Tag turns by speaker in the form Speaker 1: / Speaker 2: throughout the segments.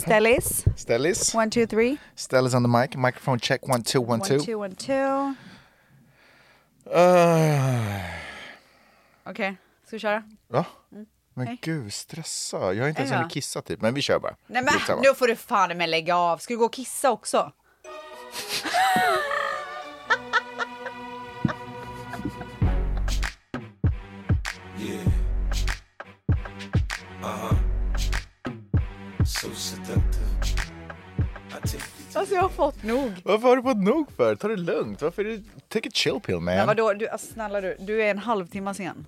Speaker 1: Stellis.
Speaker 2: Stellis.
Speaker 1: One, two, three.
Speaker 2: Stellis on the mic. Microphone check. One, two, one, two.
Speaker 1: One, two, one, two.
Speaker 2: Ah,
Speaker 1: Okej, ska vi köra?
Speaker 2: va?
Speaker 1: Mm.
Speaker 2: Men gud, stressa. Jag har inte ens
Speaker 1: Ja.
Speaker 2: hunnit kissa typ. Men vi kör bara.
Speaker 1: Nej men
Speaker 2: Skitsamma.
Speaker 1: nu får du fan med lägga av. Ska du gå och kissa också?
Speaker 3: Yeah. Uh huh. So seductive. I take you to
Speaker 1: Alltså jag har fått nog.
Speaker 2: Varför har du fått nog för? Ta det lugnt. Varför är du... Take a chill pill man.
Speaker 1: Men vadå, du, alltså, snälla du, du är en halvtimme sen.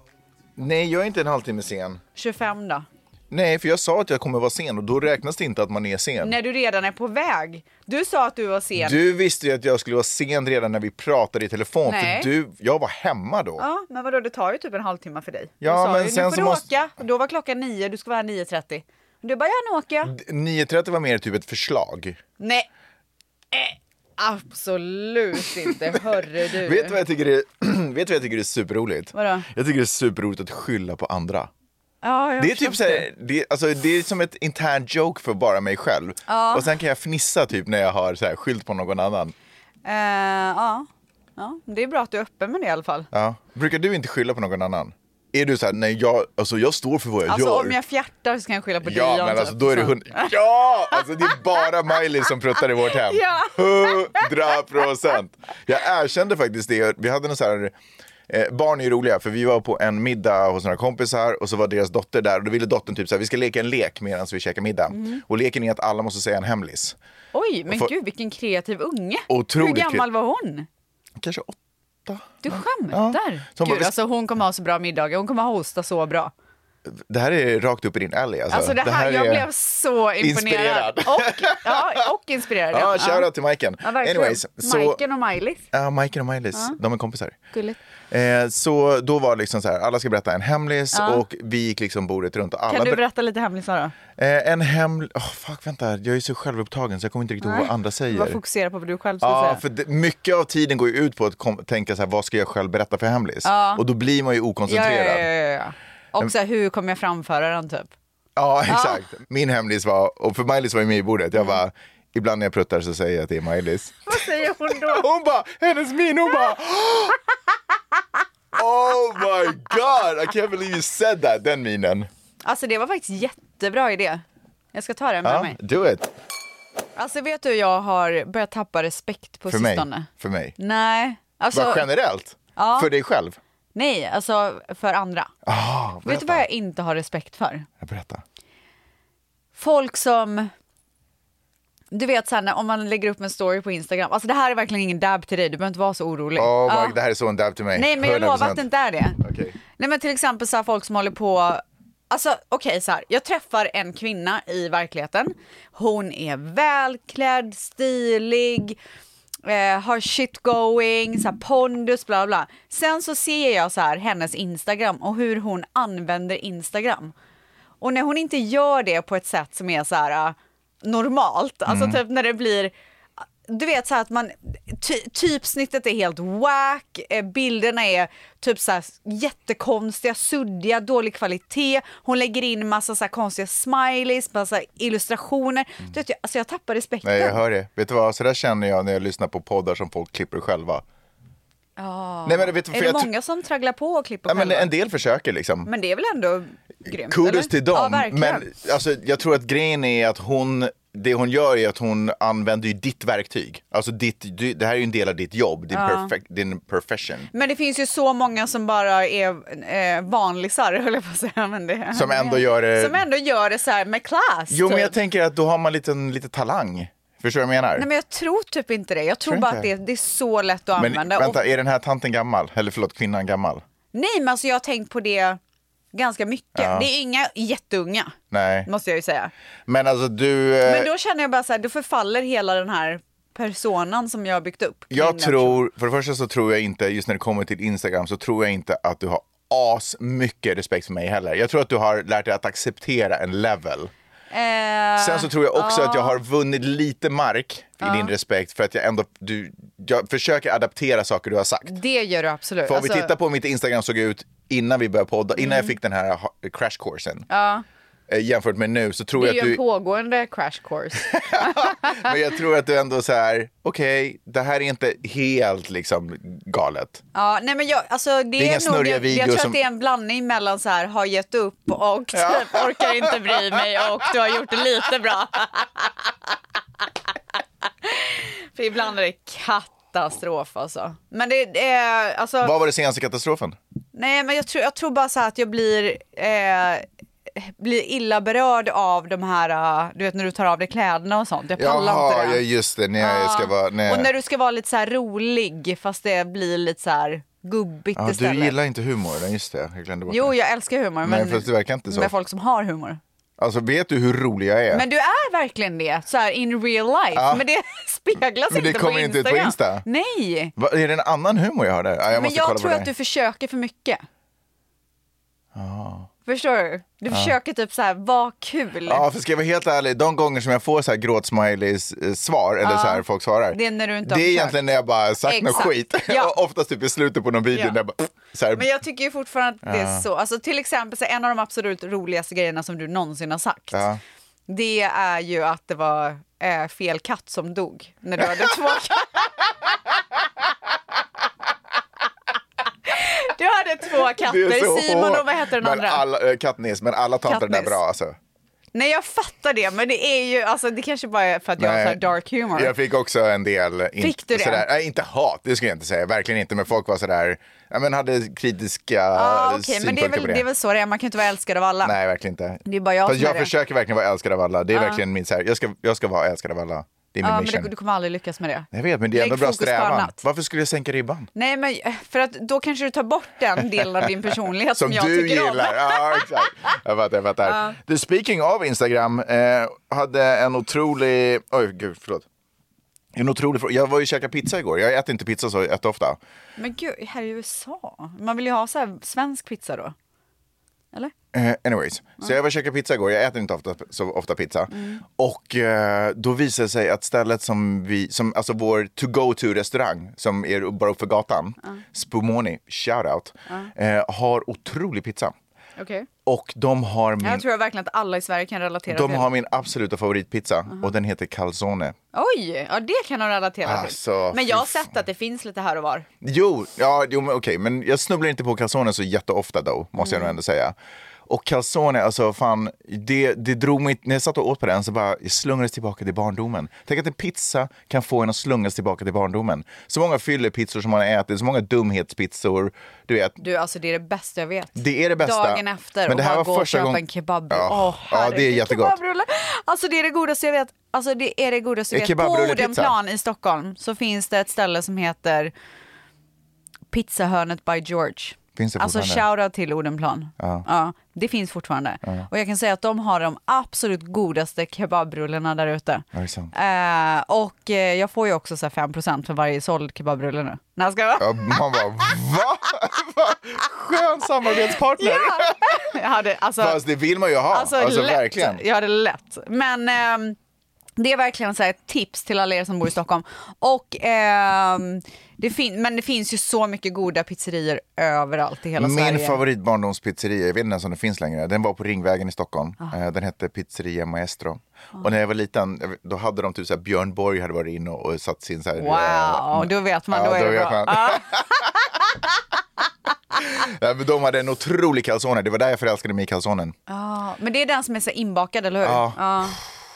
Speaker 2: Nej, jag är inte en halvtimme sen.
Speaker 1: 25 då.
Speaker 2: Nej, för jag sa att jag kommer vara sen och då räknas det inte att man är sen.
Speaker 1: När du redan är på väg. Du sa att du var sen.
Speaker 2: Du visste ju att jag skulle vara sen redan när vi pratade i telefon.
Speaker 1: Nej.
Speaker 2: För du, jag var hemma då.
Speaker 1: Ja, men vadå, det tar ju typ en halvtimme för dig.
Speaker 2: Ja,
Speaker 1: du sa
Speaker 2: men
Speaker 1: ju,
Speaker 2: sen
Speaker 1: nu
Speaker 2: så
Speaker 1: får du
Speaker 2: måste-
Speaker 1: åka. Och Då var klockan nio, du ska vara här 9.30. Du bara, ja nu åker
Speaker 2: Mm.
Speaker 1: jag.
Speaker 2: 9.30 var mer typ ett förslag.
Speaker 1: Nej. Eh, absolut inte, hörru du.
Speaker 2: Vet du vad jag tycker är, vet du vad jag tycker är superroligt?
Speaker 1: Vadå?
Speaker 2: Jag tycker det är superroligt att skylla på andra.
Speaker 1: Ja, jag
Speaker 2: Det är typ
Speaker 1: köpte.
Speaker 2: så här, det, alltså, det är som ett internt joke för bara mig själv. Och sen kan jag fnissa typ när jag har så här, skylt på någon annan.
Speaker 1: Eh, ja. ja, det är bra att du är öppen med det i alla fall.
Speaker 2: Ja. Brukar du inte skylla på någon annan? Är du så här, nej jag, alltså, jag står för vad jag
Speaker 1: Alltså
Speaker 2: gör.
Speaker 1: om jag fjärtar så kan jag skylla på dig.
Speaker 2: Ja,
Speaker 1: John,
Speaker 2: men
Speaker 1: typ.
Speaker 2: alltså då är det hund... Ja! Alltså det är bara Miley som pruttar i vårt hem.
Speaker 1: Ja.
Speaker 2: Hundra procent! Jag erkände faktiskt det. Vi hade en så här... Eh, barn är ju roliga, för vi var på en middag hos några kompisar och så var deras dotter där och då ville dottern typ så här, vi ska leka en lek medan vi käkar middag.
Speaker 1: Mm.
Speaker 2: Och leken är att alla måste säga en hemlis.
Speaker 1: Oj, men
Speaker 2: För-
Speaker 1: gud vilken kreativ unge. Hur
Speaker 2: Otroligt
Speaker 1: gammal var hon?
Speaker 2: Kanske åtta?
Speaker 1: Du skämtar?
Speaker 2: Ja. Så hon bara,
Speaker 1: Gud,
Speaker 2: vi-
Speaker 1: alltså hon kommer ha så bra middagar, hon kommer hosta så bra.
Speaker 2: Det här är rakt upp i din alley. Alltså,
Speaker 1: Alltså det här, jag
Speaker 2: är-
Speaker 1: blev så imponerad.
Speaker 2: Inspirerad.
Speaker 1: Och, ja, och inspirerad.
Speaker 2: Ja, shoutout till Majken.
Speaker 1: Ja, verkligen.
Speaker 2: Anyways, så...
Speaker 1: Majken och Maj-Lis.
Speaker 2: Ja, Majken och Maj-Lis, de är kompisar.
Speaker 1: Gulligt.
Speaker 2: Eh, så då var det liksom så här, alla ska berätta en hemlis och vi gick liksom bordet runt och alla
Speaker 1: Kan du
Speaker 2: ber-
Speaker 1: berätta lite hemlisar då?
Speaker 2: eh, En hemlis, oh, fuck vänta, jag är så självupptagen så jag kommer inte riktigt ihåg vad andra
Speaker 1: Du
Speaker 2: säger.
Speaker 1: bara fokusera på vad du själv ska
Speaker 2: Ja,
Speaker 1: säga.
Speaker 2: för det, mycket av tiden går ju ut på att kom, tänka så här, vad ska jag själv berätta för hemlis? Och då blir man ju
Speaker 1: ja,
Speaker 2: okoncentrerad.
Speaker 1: ja, ja, ja, ja. Och så här, hur kommer jag framföra den typ?
Speaker 2: Ja, exakt. Min hemlis var, och för Maj-Lis var ju med i bordet, jag bara, ibland när jag pruttar så säger jag att det är Maj-Lis.
Speaker 1: Vad säger hon då?
Speaker 2: Hon bara, hennes min, hon bara... Oh my god, I can't believe you said that, den minen.
Speaker 1: Alltså det var faktiskt jättebra idé. Jag ska ta den med
Speaker 2: Ja,
Speaker 1: mig.
Speaker 2: do it.
Speaker 1: Alltså vet du, jag har börjat tappa respekt på
Speaker 2: För mig.
Speaker 1: sistone.
Speaker 2: För mig.
Speaker 1: Nej,
Speaker 2: Bara
Speaker 1: alltså,
Speaker 2: generellt?
Speaker 1: Ja.
Speaker 2: För dig själv?
Speaker 1: nej, alltså för andra.
Speaker 2: Ah,
Speaker 1: Vet du vad jag inte har respekt för?
Speaker 2: Berätta.
Speaker 1: Folk som... Du vet såhär om man lägger upp en story på Instagram. Alltså det här är verkligen ingen dab till dig, du behöver inte vara så orolig.
Speaker 2: Oh my,
Speaker 1: Ja.
Speaker 2: Det här är så en dab till mig.
Speaker 1: Nej men jag lovar att det inte är det.
Speaker 2: Okej.
Speaker 1: Nej men till exempel så här, folk som håller på Alltså okej så här, jag träffar en kvinna i verkligheten. Hon är välklädd, stilig, eh, har shit going, så här, pondus, bla bla. Sen så ser jag så här hennes Instagram och hur hon använder Instagram. Och när hon inte gör det på ett sätt som är så här eh, normalt, alltså
Speaker 2: Mm.
Speaker 1: typ när det blir du vet så här att man, ty, typsnittet är helt wack, eh, bilderna är typ så här jättekonstiga, suddiga, dålig kvalitet. Hon lägger in massa så här konstiga smileys, massa illustrationer. Du vet, jag, alltså jag tappar respekten.
Speaker 2: Mm. Nej, jag hör det. Vet du vad, så där känner jag när jag lyssnar på poddar som folk klipper själva. Nej, men vet du,
Speaker 1: Ah.
Speaker 2: för
Speaker 1: är det
Speaker 2: jag tror-
Speaker 1: många som tragglar på och klipper
Speaker 2: Ja, men
Speaker 1: själva?
Speaker 2: en del försöker liksom.
Speaker 1: Men det är väl ändå grymt?
Speaker 2: Kudos
Speaker 1: eller?
Speaker 2: till
Speaker 1: Ja,
Speaker 2: dem.
Speaker 1: verkligen.
Speaker 2: men alltså, jag tror att grejen är att hon, det hon gör är att hon använder ju ditt verktyg. Alltså ditt, du, det här är ju en del av ditt jobb, din, perfec- din profession.
Speaker 1: Men det finns ju så många som bara är eh, vanlisar, höll jag på att säga. Men det,
Speaker 2: Som ändå gör det-
Speaker 1: Som ändå gör det så här med class.
Speaker 2: Jo, men
Speaker 1: typ.
Speaker 2: jag tänker att då har man lite, lite talang. Förstår du vad jag menar?
Speaker 1: Nej, men jag tror typ inte det. Jag tror,
Speaker 2: Tror
Speaker 1: bara
Speaker 2: inte?
Speaker 1: att det, det är så lätt att
Speaker 2: Men
Speaker 1: använda.
Speaker 2: vänta,
Speaker 1: Och,
Speaker 2: är den här tanten gammal? Eller förlåt, kvinnan gammal?
Speaker 1: nej, men alltså jag har tänkt på det ganska mycket. Det är inga jätteunga,
Speaker 2: Nej.
Speaker 1: måste jag ju säga.
Speaker 2: Men alltså du... eh,
Speaker 1: Men då känner jag bara så här, då förfaller hela den här personan som jag har byggt upp. kring
Speaker 2: jag
Speaker 1: den personen.
Speaker 2: tror, för det första så tror jag inte, just när det kommer till Instagram, så tror jag inte att du har as mycket respekt för mig heller. Jag tror att du har lärt dig att acceptera en level.
Speaker 1: Eh,
Speaker 2: Sen så tror jag också att jag har vunnit lite mark i din respekt för att jag ändå, du, jag försöker adaptera saker du har sagt.
Speaker 1: Det gör du absolut.
Speaker 2: För om vi
Speaker 1: Alltså, Mm.
Speaker 2: tittar på hur mitt Instagram såg ut innan vi började podda, innan jag fick den här ha- crash coursen.
Speaker 1: Ja.
Speaker 2: eh, jämfört med nu så tror
Speaker 1: Det är
Speaker 2: jag
Speaker 1: ju
Speaker 2: att
Speaker 1: en
Speaker 2: du...
Speaker 1: pågående crash course.
Speaker 2: Men jag tror att du ändå så här, okej, det här är inte helt liksom galet.
Speaker 1: Ja, nej men jag, alltså det,
Speaker 2: inga
Speaker 1: är nog,
Speaker 2: snurriga
Speaker 1: jag, jag
Speaker 2: videor
Speaker 1: tror
Speaker 2: som-
Speaker 1: att det är en blandning mellan så här, har gett upp och typ, orkar inte bry mig och du har gjort det lite bra. För ibland är det katastrof alltså. Men det är, alltså,
Speaker 2: Vad var det senaste katastrofen?
Speaker 1: nej men jag tror, jag tror bara så här att jag blir, eh, blir illa berörd av de här, eh, du vet när du tar av dig kläderna och sånt. Jag pallar inte det.
Speaker 2: ja just det, när jag ska vara... När...
Speaker 1: Och när du ska vara lite så här rolig fast det blir lite så här gubbigt
Speaker 2: ja,
Speaker 1: istället.
Speaker 2: du gillar inte humor, nej, just det, jag glömde bort
Speaker 1: Jo,
Speaker 2: det.
Speaker 1: jag älskar humor.
Speaker 2: Nej,
Speaker 1: Men
Speaker 2: för att det verkar inte så.
Speaker 1: Med folk som har humor.
Speaker 2: Alltså vet du hur rolig jag är?
Speaker 1: Men du är verkligen det, så här in real life.
Speaker 2: Ja.
Speaker 1: Men det speglas
Speaker 2: Men det
Speaker 1: inte
Speaker 2: kommer
Speaker 1: på
Speaker 2: inte ut på
Speaker 1: Instagram.
Speaker 2: Insta.
Speaker 1: Nej,
Speaker 2: Va, är det en annan humor jag har där? Ja, jag
Speaker 1: men
Speaker 2: måste
Speaker 1: jag
Speaker 2: kolla
Speaker 1: tror
Speaker 2: på
Speaker 1: att
Speaker 2: det.
Speaker 1: du försöker för mycket. Förstår du? Du försöker typ så här, vara kul.
Speaker 2: Ja, för ska jag vara helt ärlig, de gånger som jag får så här gråtsmileys eh, svar, eller så här folk svarar.
Speaker 1: det är när du inte har
Speaker 2: Det är
Speaker 1: försökt.
Speaker 2: egentligen när jag bara sagt något
Speaker 1: Exakt.
Speaker 2: skit.
Speaker 1: Ja.
Speaker 2: Och Oftast typ i slutet på någon video
Speaker 1: Ja.
Speaker 2: där jag bara, pff, så här,
Speaker 1: Men jag tycker ju fortfarande att det är så. Alltså till exempel så en av de absolut roligaste grejerna som du någonsin har sagt.
Speaker 2: Ja.
Speaker 1: Det är ju att det var eh, fel katt som dog när du hade två katter. Du hade två
Speaker 2: det är så
Speaker 1: katter, Simon
Speaker 2: hårt.
Speaker 1: och vad heter den
Speaker 2: men
Speaker 1: andra?
Speaker 2: Alla, eh, Katniss, men alla tar inte det där
Speaker 1: Katniss.
Speaker 2: bra alltså.
Speaker 1: Nej jag fattar det men det är ju, alltså det kanske bara är för att jag har
Speaker 2: Nej.
Speaker 1: så här dark humor.
Speaker 2: Jag fick också en del... In,
Speaker 1: Fick du det?
Speaker 2: Sådär, nej, inte hat, det skulle jag inte säga. Verkligen inte. Men folk var sådär, ja, men hade kritiska
Speaker 1: ah, okej, men det är,
Speaker 2: synpunkter
Speaker 1: väl,
Speaker 2: på
Speaker 1: det är väl så det är, man kan ju inte vara älskad av alla.
Speaker 2: Nej, verkligen inte.
Speaker 1: Det är bara jag
Speaker 2: Fast
Speaker 1: som
Speaker 2: jag
Speaker 1: är det.
Speaker 2: försöker verkligen vara älskad av alla. Det är verkligen min, så här, jag, ska, jag ska vara älskad av alla. Det är min
Speaker 1: ja, Ah, men
Speaker 2: mission.
Speaker 1: du, du kommer aldrig lyckas med det.
Speaker 2: Jag vet, men det är
Speaker 1: Lägg
Speaker 2: ändå bra
Speaker 1: fokus på
Speaker 2: strävan.
Speaker 1: annat.
Speaker 2: Varför skulle jag sänka ribban?
Speaker 1: Nej men eh, för att då kanske du tar bort den delen av din personlighet som, jag
Speaker 2: du
Speaker 1: tycker
Speaker 2: gillar.
Speaker 1: om.
Speaker 2: Ja, exakt. Jag fattar. Jag fattar. Du, speaking av Instagram, eh, hade en otrolig... Oj, gud, förlåt. En otrolig fråga. Jag var ju och käkade pizza igår. Jag äter inte pizza så jätteofta.
Speaker 1: Men gud, här i USA, man vill ju ha så här svensk pizza då. Eller?
Speaker 2: Eh, anyways, så
Speaker 1: Mm.
Speaker 2: jag var och käkade pizza igår. Jag äter inte ofta, så ofta pizza. Och eh, då visade det sig att stället som vi, som, alltså vår to go to restaurang som är bara uppför gatan, Spumoni, shoutout, eh, har otrolig pizza.
Speaker 1: Okej.
Speaker 2: Och de har min
Speaker 1: Jag tror verkligen att alla i Sverige kan relatera
Speaker 2: Mm. De
Speaker 1: till.
Speaker 2: har min absoluta favoritpizza och den heter calzone.
Speaker 1: Oj, ja det kan de relatera
Speaker 2: Alltså,
Speaker 1: till. Men jag har
Speaker 2: fy
Speaker 1: sett att det finns lite här och var.
Speaker 2: Jo, ja, jo men okej, men jag snubblar inte på calzone så jätteofta då, måste
Speaker 1: Mm.
Speaker 2: jag nog ändå säga. Och calzone, alltså fan, det, det drog mig, när jag satt och åt på den så bara jag slungades tillbaka till barndomen. Tänk att en pizza kan få en att slungas tillbaka till barndomen. Så många fyllepizzor som man har ätit, så många dumhetspizzor, du vet.
Speaker 1: Du, alltså det är det bästa jag vet.
Speaker 2: Det är det bästa.
Speaker 1: Dagen efter
Speaker 2: men det här
Speaker 1: och bara
Speaker 2: var
Speaker 1: gå och
Speaker 2: första
Speaker 1: köpa
Speaker 2: gång-
Speaker 1: en kebabrulle.
Speaker 2: Ja,
Speaker 1: Åh,
Speaker 2: ja, det är
Speaker 1: herregud,
Speaker 2: jättegott.
Speaker 1: Kebabrulle. Alltså det är det godaste jag vet. Alltså det är det godaste
Speaker 2: Är
Speaker 1: jag vet. På
Speaker 2: kebabrullepizza?
Speaker 1: Odenplan i Stockholm så finns det ett ställe som heter Pizzahörnet by George.
Speaker 2: Finns det
Speaker 1: alltså
Speaker 2: fortfarande?
Speaker 1: shoutout till Odenplan. Ja. det finns fortfarande. Och jag kan säga att de har de absolut godaste kebabrullarna där ute.
Speaker 2: Ja, det är sant.
Speaker 1: Eh, och eh, jag får ju också så här 5% för varje såld kebabrulle nu. När jag ska jag?
Speaker 2: Ja, man bara, va? Vad Skön samarbetspartner!
Speaker 1: jag hade, alltså,
Speaker 2: Fast det vill man ju ha. Alltså,
Speaker 1: Alltså, lätt.
Speaker 2: verkligen.
Speaker 1: Ja, det är lätt. Men ehm, det är verkligen så här ett tips till alla er som bor i Stockholm. Och, ehm, det fin- men det finns ju så mycket goda pizzerior överallt i hela Sverige.
Speaker 2: Min favorit barndomspizzeria, jag vet inte ens om den finns längre, den var på Ringvägen i Stockholm.
Speaker 1: Ah.
Speaker 2: Eh, Den hette Pizzeria Maestro. Och när jag var liten, jag vet- då hade de typ så här, Björn Borg hade varit inne och, och satt sin så här... eh,
Speaker 1: Wow, då vet man.
Speaker 2: Ja,
Speaker 1: då är
Speaker 2: då
Speaker 1: det
Speaker 2: vet
Speaker 1: bra.
Speaker 2: man.
Speaker 1: Ja.
Speaker 2: nej, men de hade en otrolig calzone, det var där jag förälskade mig i calzonen.
Speaker 1: Ja, men det är den som är så inbakad, eller hur?
Speaker 2: Ja.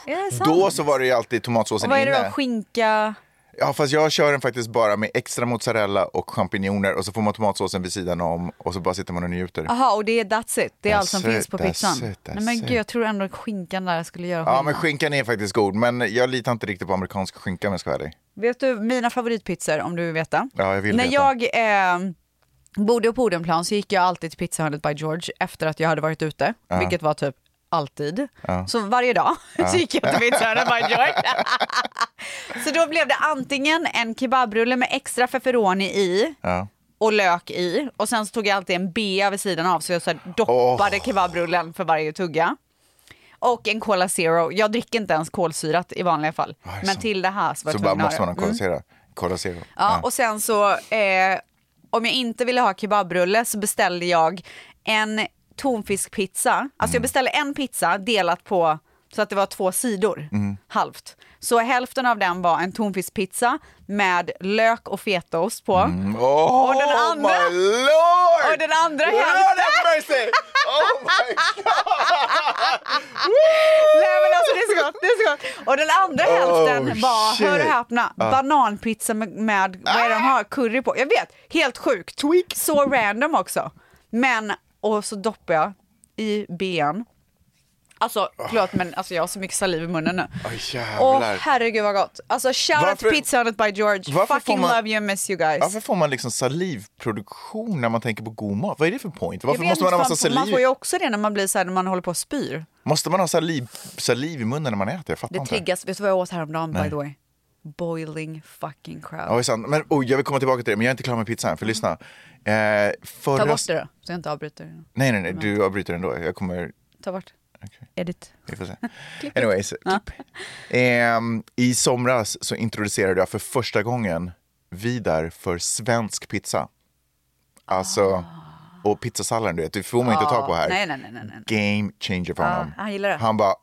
Speaker 1: Är det sant?
Speaker 2: Då så var det ju alltid tomatsåsen
Speaker 1: Och vad är det
Speaker 2: inne.
Speaker 1: då? Skinka?
Speaker 2: Ja, fast jag kör den faktiskt bara med extra mozzarella och champinjoner och så får man tomatsåsen vid sidan om och så bara sitter man och njuter.
Speaker 1: Jaha, och det är that's it. Det är
Speaker 2: That's
Speaker 1: allt som
Speaker 2: it,
Speaker 1: finns på
Speaker 2: that's
Speaker 1: pizzan.
Speaker 2: it, that's
Speaker 1: Nej, men
Speaker 2: it.
Speaker 1: gud, jag tror ändå att skinkan där skulle göra
Speaker 2: Ja,
Speaker 1: skillnad.
Speaker 2: men skinkan är faktiskt god, men jag litar inte riktigt på amerikansk skinka om jag ska vara ärlig.
Speaker 1: Vet du mina favoritpizzor om du vill veta?
Speaker 2: Ja, jag vill
Speaker 1: När
Speaker 2: veta.
Speaker 1: jag eh, bodde på Odenplan så gick jag alltid till Pizzahörnet by George efter att jag hade varit ute, vilket var typ alltid. Så varje dag så gick jag till Pizzahörnet by George. så då blev det antingen en kebabrulle med extra feferoni i
Speaker 2: Ja.
Speaker 1: och lök i och sen så tog jag alltid en bea vid sidan av så jag så här doppade kebabrullen för varje tugga. Och en Cola Zero. Jag dricker inte ens kolsyrat i vanliga fall.
Speaker 2: är det
Speaker 1: Men
Speaker 2: sant?
Speaker 1: till det här så var
Speaker 2: Så
Speaker 1: jag
Speaker 2: bara
Speaker 1: tvungen att
Speaker 2: måste
Speaker 1: ha
Speaker 2: man
Speaker 1: det.
Speaker 2: ha Cola Zero. Cola Zero.
Speaker 1: Mm. Ja, och sen så, eh, om jag inte ville ha kebabrulle så beställde jag en tonfiskpizza. Alltså jag beställde en pizza delat på så att det var två sidor, halvt. Så hälften av den var en tonfiskpizza med lök och fetaost på.
Speaker 2: Oh,
Speaker 1: Och den andra-
Speaker 2: my lord!
Speaker 1: och den andra
Speaker 2: Lord
Speaker 1: hälften-
Speaker 2: have mercy! Oh
Speaker 1: Alltså-
Speaker 2: my
Speaker 1: Nej men alltså det är så gott, det är så gott. Och den andra
Speaker 2: Oh,
Speaker 1: hälften var,
Speaker 2: shit. Ah.
Speaker 1: hör och häpna, bananpizza med, med vad är det de har, curry på. Jag vet, helt sjukt. Tweak. Så random också. Men, och så doppar jag i ben. Alltså förlåt men alltså jag har så mycket saliv i munnen nu.
Speaker 2: Åh, jävlar.
Speaker 1: Åh herregud vad gott. Alltså shoutout
Speaker 2: Varför-
Speaker 1: till Pizzahörnet by George.
Speaker 2: Varför får
Speaker 1: Fucking
Speaker 2: man-
Speaker 1: love you and miss you guys.
Speaker 2: Varför får man liksom salivproduktion när man tänker på god mat? Vad är det för point?
Speaker 1: Jag
Speaker 2: Varför
Speaker 1: vet
Speaker 2: måste man
Speaker 1: inte
Speaker 2: ha
Speaker 1: fan,
Speaker 2: massa saliv?
Speaker 1: Man får ju också det när man blir så här, när man håller på och spyr.
Speaker 2: Måste man ha saliv, saliv i munnen när man äter? Jag fattar
Speaker 1: Det
Speaker 2: inte.
Speaker 1: triggas, vet du vad jag åt häromdagen by the way? Boiling fucking crab.
Speaker 2: Ja, det är sant. Men, oh, jag vill komma tillbaka till det, men jag är inte klar med pizzan. För lyssna. Eh, förra...
Speaker 1: Ta bort det Mm. då, så jag inte avbryter.
Speaker 2: Nej, nej, nej. Du avbryter ändå. Jag kommer...
Speaker 1: Ta bort.
Speaker 2: Okej.
Speaker 1: Edit.
Speaker 2: Vi får se. Anyways, klipp. Ehm, I somras så introducerade jag för första gången Vidar för svensk pizza. Alltså, och pizzasalladen du vet, det får man inte ta på här.
Speaker 1: Ah. Nej, nej, nej, nej, nej.
Speaker 2: Game changer för
Speaker 1: Ja,
Speaker 2: honom.
Speaker 1: han gillar det.
Speaker 2: Han bara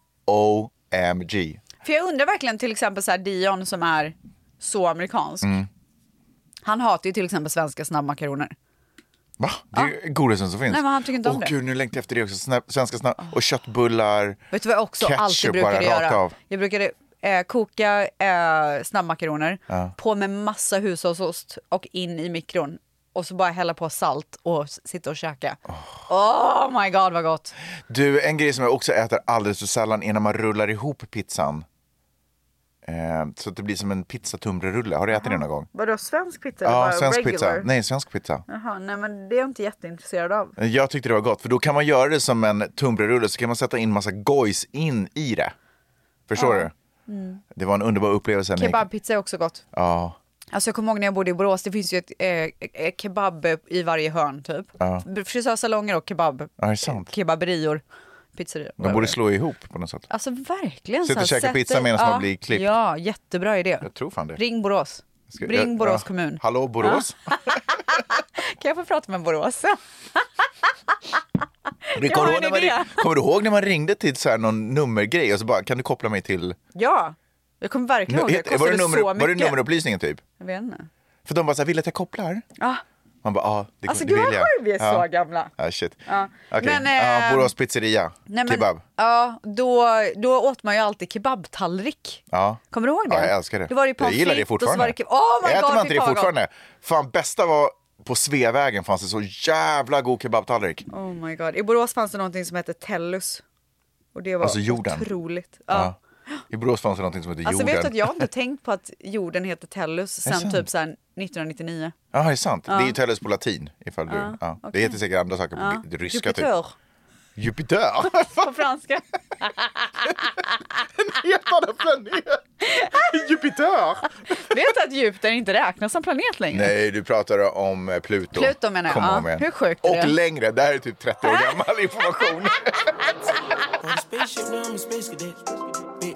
Speaker 2: OMG.
Speaker 1: För jag undrar verkligen till exempel så här Dion som är så amerikansk.
Speaker 2: Mm.
Speaker 1: Han hatar ju till exempel svenska snabbmakaroner.
Speaker 2: Va? Det är godaste som finns.
Speaker 1: Nej, men han tycker inte om
Speaker 2: Åh,
Speaker 1: det. Ah.
Speaker 2: Gud, nu längtar jag efter det också. Snab- svenska snabb och köttbullar.
Speaker 1: Vet du vad jag också
Speaker 2: Ketchup
Speaker 1: alltid
Speaker 2: bara
Speaker 1: brukade
Speaker 2: rakt
Speaker 1: göra?
Speaker 2: av.
Speaker 1: Jag brukade eh, koka eh, snabbmakaroner, på med massa hushållsost och in i mikron. Och så bara hälla på salt och s- sitta och käka. Oh. my god vad gott!
Speaker 2: Du, en grej som jag också äter alldeles för sällan är när man rullar ihop pizzan. Ehm, så att det blir som en pizzatumrerulle. Har du ätit det någon gång?
Speaker 1: Vadå svensk pizza?
Speaker 2: Ja, svensk pizza. Nej, svensk pizza.
Speaker 1: Jaha, nej men det är jag inte jätteintresserad av.
Speaker 2: Jag tyckte det var gott, för då kan man göra det som en tunnbrödsrulle så kan man sätta in massa gojs in i det. Förstår du?
Speaker 1: Mm.
Speaker 2: Det var en underbar upplevelse. när jag gick-
Speaker 1: Kebabpizza är också gott.
Speaker 2: Ja.
Speaker 1: Alltså jag kommer ihåg när jag bodde i Borås, det finns ju ett eh, eh, kebab i varje hörn typ.
Speaker 2: Ja.
Speaker 1: Frisörsalonger och kebab,
Speaker 2: Ja, det är sant.
Speaker 1: kebaberior, pizzerior.
Speaker 2: De borde slå ihop på något sätt.
Speaker 1: Alltså verkligen.
Speaker 2: Sitta
Speaker 1: så här,
Speaker 2: och käka
Speaker 1: sätt
Speaker 2: pizza
Speaker 1: dig-
Speaker 2: medan man
Speaker 1: ja,
Speaker 2: blir klippt.
Speaker 1: Ja, jättebra idé.
Speaker 2: Jag tror fan det.
Speaker 1: Ring Borås.
Speaker 2: Ska-
Speaker 1: Ring
Speaker 2: jag-
Speaker 1: Borås
Speaker 2: ja.
Speaker 1: kommun.
Speaker 2: Hallå Borås?
Speaker 1: Kan jag få prata med Borås?
Speaker 2: Du,
Speaker 1: Jag
Speaker 2: kommer,
Speaker 1: har
Speaker 2: du
Speaker 1: en
Speaker 2: ihåg när man,
Speaker 1: idé.
Speaker 2: ring- kommer du ihåg när man ringde till så här någon nummergrej och så bara, kan du koppla mig till...
Speaker 1: ja, jag kommer verkligen ihåg det.
Speaker 2: Hette- var,
Speaker 1: Kostade
Speaker 2: det nummer,
Speaker 1: så
Speaker 2: var det
Speaker 1: mycket.
Speaker 2: nummerupplysningen typ?
Speaker 1: Jag vet inte.
Speaker 2: För de bara så här, vill du att jag kopplar?
Speaker 1: Ah.
Speaker 2: Man bara, ja, det,
Speaker 1: Alltså
Speaker 2: det
Speaker 1: gud
Speaker 2: vill
Speaker 1: vad
Speaker 2: jag.
Speaker 1: sjukt, vi är
Speaker 2: ja.
Speaker 1: så gamla.
Speaker 2: Ja, Ah, shit.
Speaker 1: Ja.
Speaker 2: Okej.
Speaker 1: Men,
Speaker 2: ja,
Speaker 1: eh,
Speaker 2: Borås pizzeria,
Speaker 1: Nej, men,
Speaker 2: kebab.
Speaker 1: Ja, då, då åt man ju alltid kebabtallrik.
Speaker 2: Ja.
Speaker 1: Kommer du ihåg det?
Speaker 2: Ja, jag älskar det.
Speaker 1: Då var det ju
Speaker 2: jag
Speaker 1: pommes
Speaker 2: gillar det
Speaker 1: frites och så
Speaker 2: fortfarande.
Speaker 1: var det ke- oh my
Speaker 2: Äter
Speaker 1: God,
Speaker 2: man inte
Speaker 1: fy
Speaker 2: det
Speaker 1: fan vad
Speaker 2: fortfarande? Fan, bästa var på Sveavägen fanns det så jävla god kebabtallrik.
Speaker 1: Oh my god. I Borås fanns det någonting som hette Tellus. Och det var
Speaker 2: Alltså jorden.
Speaker 1: otroligt. Ja.
Speaker 2: Ja. I Borås fanns det någonting som hette
Speaker 1: Alltså
Speaker 2: jorden.
Speaker 1: vet du att jag har inte tänkt på att jorden heter Tellus sen
Speaker 2: sant?
Speaker 1: typ så här 1999.
Speaker 2: Ja, det är sant. Det är ju Tellus på latin. Ifall du... ja. Det heter säkert andra saker på
Speaker 1: Ja.
Speaker 2: det ryska
Speaker 1: Jupiter
Speaker 2: typ. Jupiter.
Speaker 1: på franska.
Speaker 2: Helt annan planet. Jupiter.
Speaker 1: vet du att Jupiter inte räknas som planet längre?
Speaker 2: Nej, du pratar om eh, Pluto.
Speaker 1: Pluto menar jag.
Speaker 2: Kom
Speaker 1: Ja,
Speaker 2: ihåg med.
Speaker 1: hur sjukt är
Speaker 2: Och
Speaker 1: det?
Speaker 2: längre. Det här är typ 30 år gammal information.
Speaker 3: On a spaceship, now I'm a space cadet. Big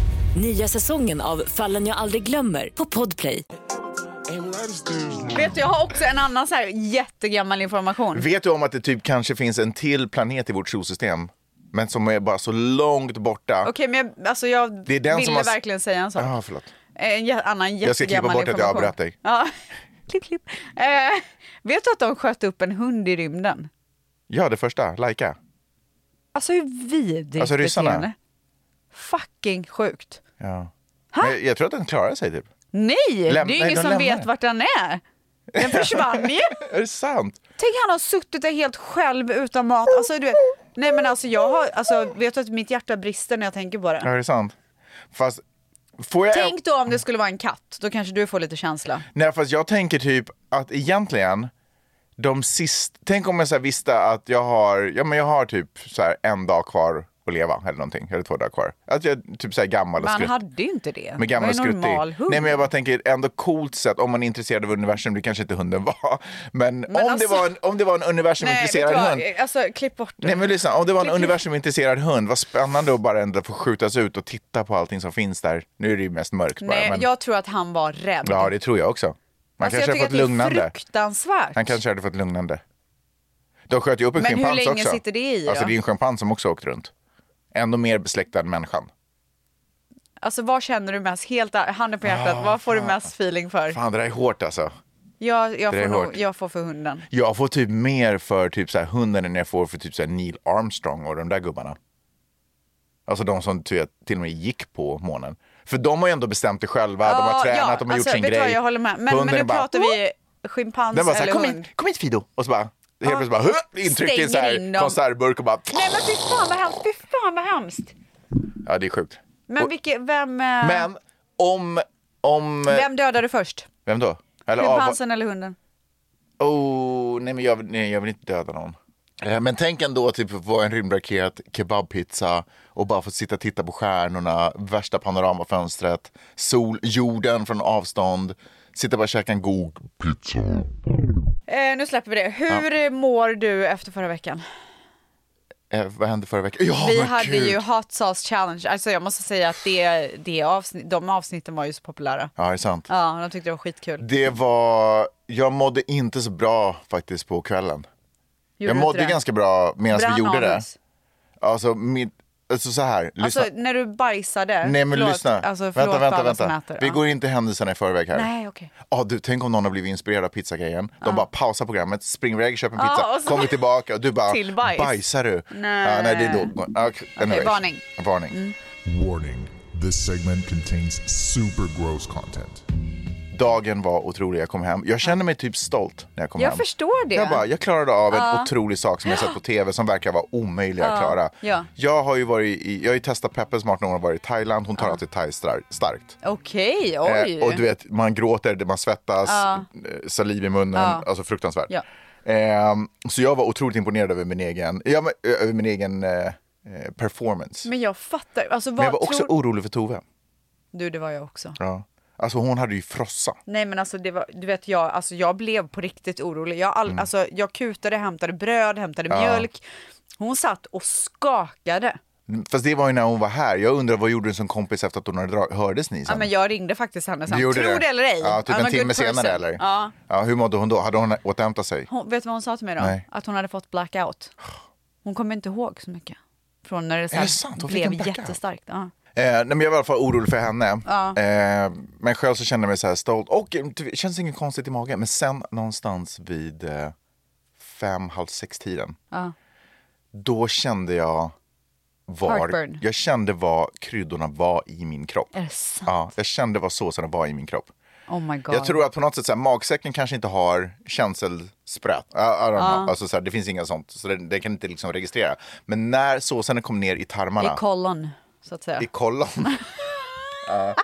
Speaker 4: Nya säsongen av Fallen jag aldrig glömmer på Podplay.
Speaker 3: Aim right as the-
Speaker 1: Vet du, jag har också en annan så här jättegammal information.
Speaker 2: Vet du om att det typ kanske finns en till planet i vårt solsystem? Men som är bara så långt borta.
Speaker 1: Okej, men jag, alltså jag
Speaker 2: Det är den som
Speaker 1: ville
Speaker 2: har-
Speaker 1: verkligen säga en sak.
Speaker 2: Ah, förlåt.
Speaker 1: En jä- annan
Speaker 2: Jag ska klippa
Speaker 1: jättegammal
Speaker 2: bort att jag
Speaker 1: information.
Speaker 2: avbröt dig.
Speaker 1: Ja. klipp, klipp. Eh, vet du att de sköt upp en hund i rymden?
Speaker 2: Ja, det första. Laika.
Speaker 1: Alltså hur vidrigt
Speaker 2: Alltså, ryssarna.
Speaker 1: beteende. Fucking sjukt.
Speaker 2: Ja. Men jag- jag tror att den klarar sig typ.
Speaker 1: Nej,
Speaker 2: Läm-
Speaker 1: det är ju
Speaker 2: nej,
Speaker 1: ingen
Speaker 2: de
Speaker 1: som
Speaker 2: lämnar
Speaker 1: vet
Speaker 2: den.
Speaker 1: vart den är. Den försvann ju.
Speaker 2: Är det sant?
Speaker 1: Tänk han har suttit där helt själv utan mat. Alltså, du vet, nej men alltså jag har, alltså vet du att mitt hjärta brister när jag tänker på
Speaker 2: Ja,
Speaker 1: det.
Speaker 2: är det sant? Fast, får jag...
Speaker 1: Tänk då om det skulle vara en katt, då kanske du får lite känsla.
Speaker 2: Nej, fast jag tänker typ att egentligen, de sist... Tänk om jag så här visste att jag har, ja, men jag har typ så här en dag kvar att leva eller någonting. Jag hade två dagar kvar. Att jag typ såhär gammal och
Speaker 1: Man
Speaker 2: skrutt.
Speaker 1: hade ju inte det.
Speaker 2: Med gammal
Speaker 1: det var ju
Speaker 2: skruttig.
Speaker 1: normal hund.
Speaker 2: Nej men jag bara tänker ändå coolt sett om man är intresserad av universum, det kanske inte hunden var. Men, om,
Speaker 1: alltså-
Speaker 2: det var en, om det var en universumintresserad
Speaker 1: vet du vad?
Speaker 2: hund.
Speaker 1: Alltså, klipp bort det.
Speaker 2: Nej men lyssna, om det var en
Speaker 1: Klipp, klipp.
Speaker 2: universumintresserad hund, vad spännande att bara ändå få skjutas ut och titta på allting som finns där. Nu är det ju mest mörkt bara.
Speaker 1: Nej,
Speaker 2: men,
Speaker 1: jag tror att han var rädd.
Speaker 2: Ja det tror jag också. Man
Speaker 1: alltså, jag
Speaker 2: kanske hade
Speaker 1: tycker
Speaker 2: fått
Speaker 1: att det är
Speaker 2: lugnande.
Speaker 1: fruktansvärt.
Speaker 2: Han kanske hade fått lugnande. De sköt ju upp en
Speaker 1: Men hur
Speaker 2: schimpans också.
Speaker 1: länge sitter det i
Speaker 2: Alltså
Speaker 1: då?
Speaker 2: det är en schimpans som också åkt runt. Ändå mer besläktad än människan.
Speaker 1: Alltså vad känner du mest, helt ä- handen på hjärtat, vad får du mest feeling för?
Speaker 2: Fan det där är hårt alltså.
Speaker 1: Jag, jag,
Speaker 2: Det är
Speaker 1: får, nog,
Speaker 2: hårt.
Speaker 1: jag får för hunden.
Speaker 2: Jag får typ mer för typ så här hunden än jag får för typ så här Neil Armstrong och de där gubbarna. Alltså de som ty- till och med gick på månen. För de har ju ändå bestämt det själva, de har tränat, de har gjort
Speaker 1: alltså,
Speaker 2: sin
Speaker 1: vet du
Speaker 2: grej.
Speaker 1: vad, Jag håller med. Men, men
Speaker 2: Hunden
Speaker 1: nu
Speaker 2: är bara,
Speaker 1: pratar vi schimpans
Speaker 2: Den bara så här,
Speaker 1: eller
Speaker 2: kom
Speaker 1: hund.
Speaker 2: hit, kom hit Fido! Och så bara, helt plötsligt bara, "Huh!" intryckt i en så
Speaker 1: Stänger in
Speaker 2: här
Speaker 1: dem.
Speaker 2: konservburk och bara,
Speaker 1: Nej men fy fan vad hemskt, fy fan vad hemskt.
Speaker 2: ja det är sjukt.
Speaker 1: Men
Speaker 2: Och-
Speaker 1: vilke, vem, eh,
Speaker 2: Men om, om,
Speaker 1: vem dödade först?
Speaker 2: vem då? Eller av-
Speaker 1: Schimpansen eller hunden?
Speaker 2: Oh, nej men jag, nej, jag vill inte döda någon. Eh, Men tänk ändå typ vara en rymdraket, kebabpizza och bara få sitta och titta på stjärnorna, värsta panoramafönstret, sol, jorden från avstånd, sitta och bara käka en god pizza.
Speaker 1: Eh, nu släpper vi det. Hur mår du efter förra veckan?
Speaker 2: Eh, vad hände förra veckan? Ja,
Speaker 1: Vi
Speaker 2: men
Speaker 1: hade
Speaker 2: gud!
Speaker 1: ju Hot Sauce Challenge, alltså jag måste säga att det, det avsnitt, de avsnitten var ju så populära.
Speaker 2: Ja, det är sant.
Speaker 1: Ja, de tyckte det var skitkul.
Speaker 2: Det var, jag mådde inte så bra faktiskt på kvällen.
Speaker 1: Gjorde
Speaker 2: jag
Speaker 1: du
Speaker 2: mådde
Speaker 1: inte det?
Speaker 2: ganska bra medan
Speaker 1: Brann
Speaker 2: vi gjorde det.
Speaker 1: anus?
Speaker 2: Alltså, mitt, alltså så här, lyssna.
Speaker 1: Alltså när du bajsade.
Speaker 2: Nej men
Speaker 1: Förlåt.
Speaker 2: lyssna.
Speaker 1: Alltså, förlåt
Speaker 2: vänta,
Speaker 1: för
Speaker 2: vänta,
Speaker 1: alla som
Speaker 2: vänta.
Speaker 1: äter.
Speaker 2: Vi
Speaker 1: Ja.
Speaker 2: går inte händelserna i förväg här.
Speaker 1: Nej, okej.
Speaker 2: Ah, du, tänk om någon har blivit inspirerad av pizzagrejen. De bara pausar programmet, springer iväg, köper en
Speaker 1: Ja,
Speaker 2: pizza,
Speaker 1: Ah. och så-
Speaker 2: kommer tillbaka och du bara
Speaker 1: Till bajs.
Speaker 2: bajsar du?
Speaker 1: Nej.
Speaker 2: Ah, nej, det är då. Ah, okay, anyways.
Speaker 1: varning. Mm.
Speaker 2: Varning.
Speaker 5: Warning this segment contains super gross content.
Speaker 2: Dagen var otrolig, jag kom hem. Jag känner mig typ stolt när jag kom
Speaker 1: Ah. Jag
Speaker 2: hem.
Speaker 1: förstår Ah. det.
Speaker 2: Jag, bara, jag klarade av en otrolig sak som jag sett på tv som verkar vara omöjlig att klara.
Speaker 1: Ah, Ja.
Speaker 2: Jag har ju varit i, jag har ju testat Peppe smart när hon har varit i Thailand. Hon tar
Speaker 1: Ah.
Speaker 2: alltid thai star- starkt.
Speaker 1: Okej, oj.
Speaker 2: Eh, och du vet, man gråter, man svettas, eh, saliv i munnen, alltså fruktansvärt.
Speaker 1: Ja.
Speaker 2: Ehm, så jag var otroligt imponerad över min egen, ja, men, ö- över min egen eh, eh, performance. Men,
Speaker 1: Men jag fattar. Alltså, vad
Speaker 2: jag var också
Speaker 1: tror...
Speaker 2: orolig för Tove.
Speaker 1: Du, det var jag också.
Speaker 2: Ja. Alltså hon hade ju frossa.
Speaker 1: Nej men alltså, det var, du vet jag, alltså, jag blev på riktigt orolig. Jag,
Speaker 2: Mm.
Speaker 1: all... alltså, jag kutade, hämtade bröd, hämtade mjölk. Hon satt och skakade.
Speaker 2: Fast det var ju när hon var här. Jag undrar vad gjorde du som kompis efter att hon hade drag- Hördes ni sen?
Speaker 1: Ja, men jag ringde faktiskt henne sen.
Speaker 2: Du gjorde
Speaker 1: Tror det eller ej.
Speaker 2: Ja, typ
Speaker 1: I'm a
Speaker 2: en
Speaker 1: good
Speaker 2: timme senare
Speaker 1: person.
Speaker 2: eller?
Speaker 1: Ja.
Speaker 2: ja. Hur mådde hon då? Hade hon återhämtat sig?
Speaker 1: Hon, vet du vad hon sa till mig då?
Speaker 2: Nej.
Speaker 1: Att hon hade fått blackout. Hon kommer inte ihåg så mycket. Från när det, så
Speaker 2: Är
Speaker 1: här
Speaker 2: det sant? Hon fick
Speaker 1: blev
Speaker 2: en blackout?
Speaker 1: jättestarkt. Ja.
Speaker 2: Eh, nej, men jag var i alla fall orolig för henne. Eh, men själv så kände jag mig så här stolt. Och eh, det känns inget konstigt i magen. Men sen någonstans vid eh, fem, halv sex-tiden. Då kände jag var,
Speaker 1: Heartburn.
Speaker 2: jag kände vad kryddorna var i min kropp.
Speaker 1: Är det sant?
Speaker 2: Ja, jag kände vad såserna var i min kropp.
Speaker 1: Oh my god.
Speaker 2: Jag tror att på något sätt så här, magsäcken kanske inte har känselsprätt. I, I don't know. Alltså, så här, det finns inga sånt, så det, det kan inte liksom registrera. Men när såserna kom ner i tarmarna
Speaker 1: I kollon, så att säga.
Speaker 2: i kollon. Ja,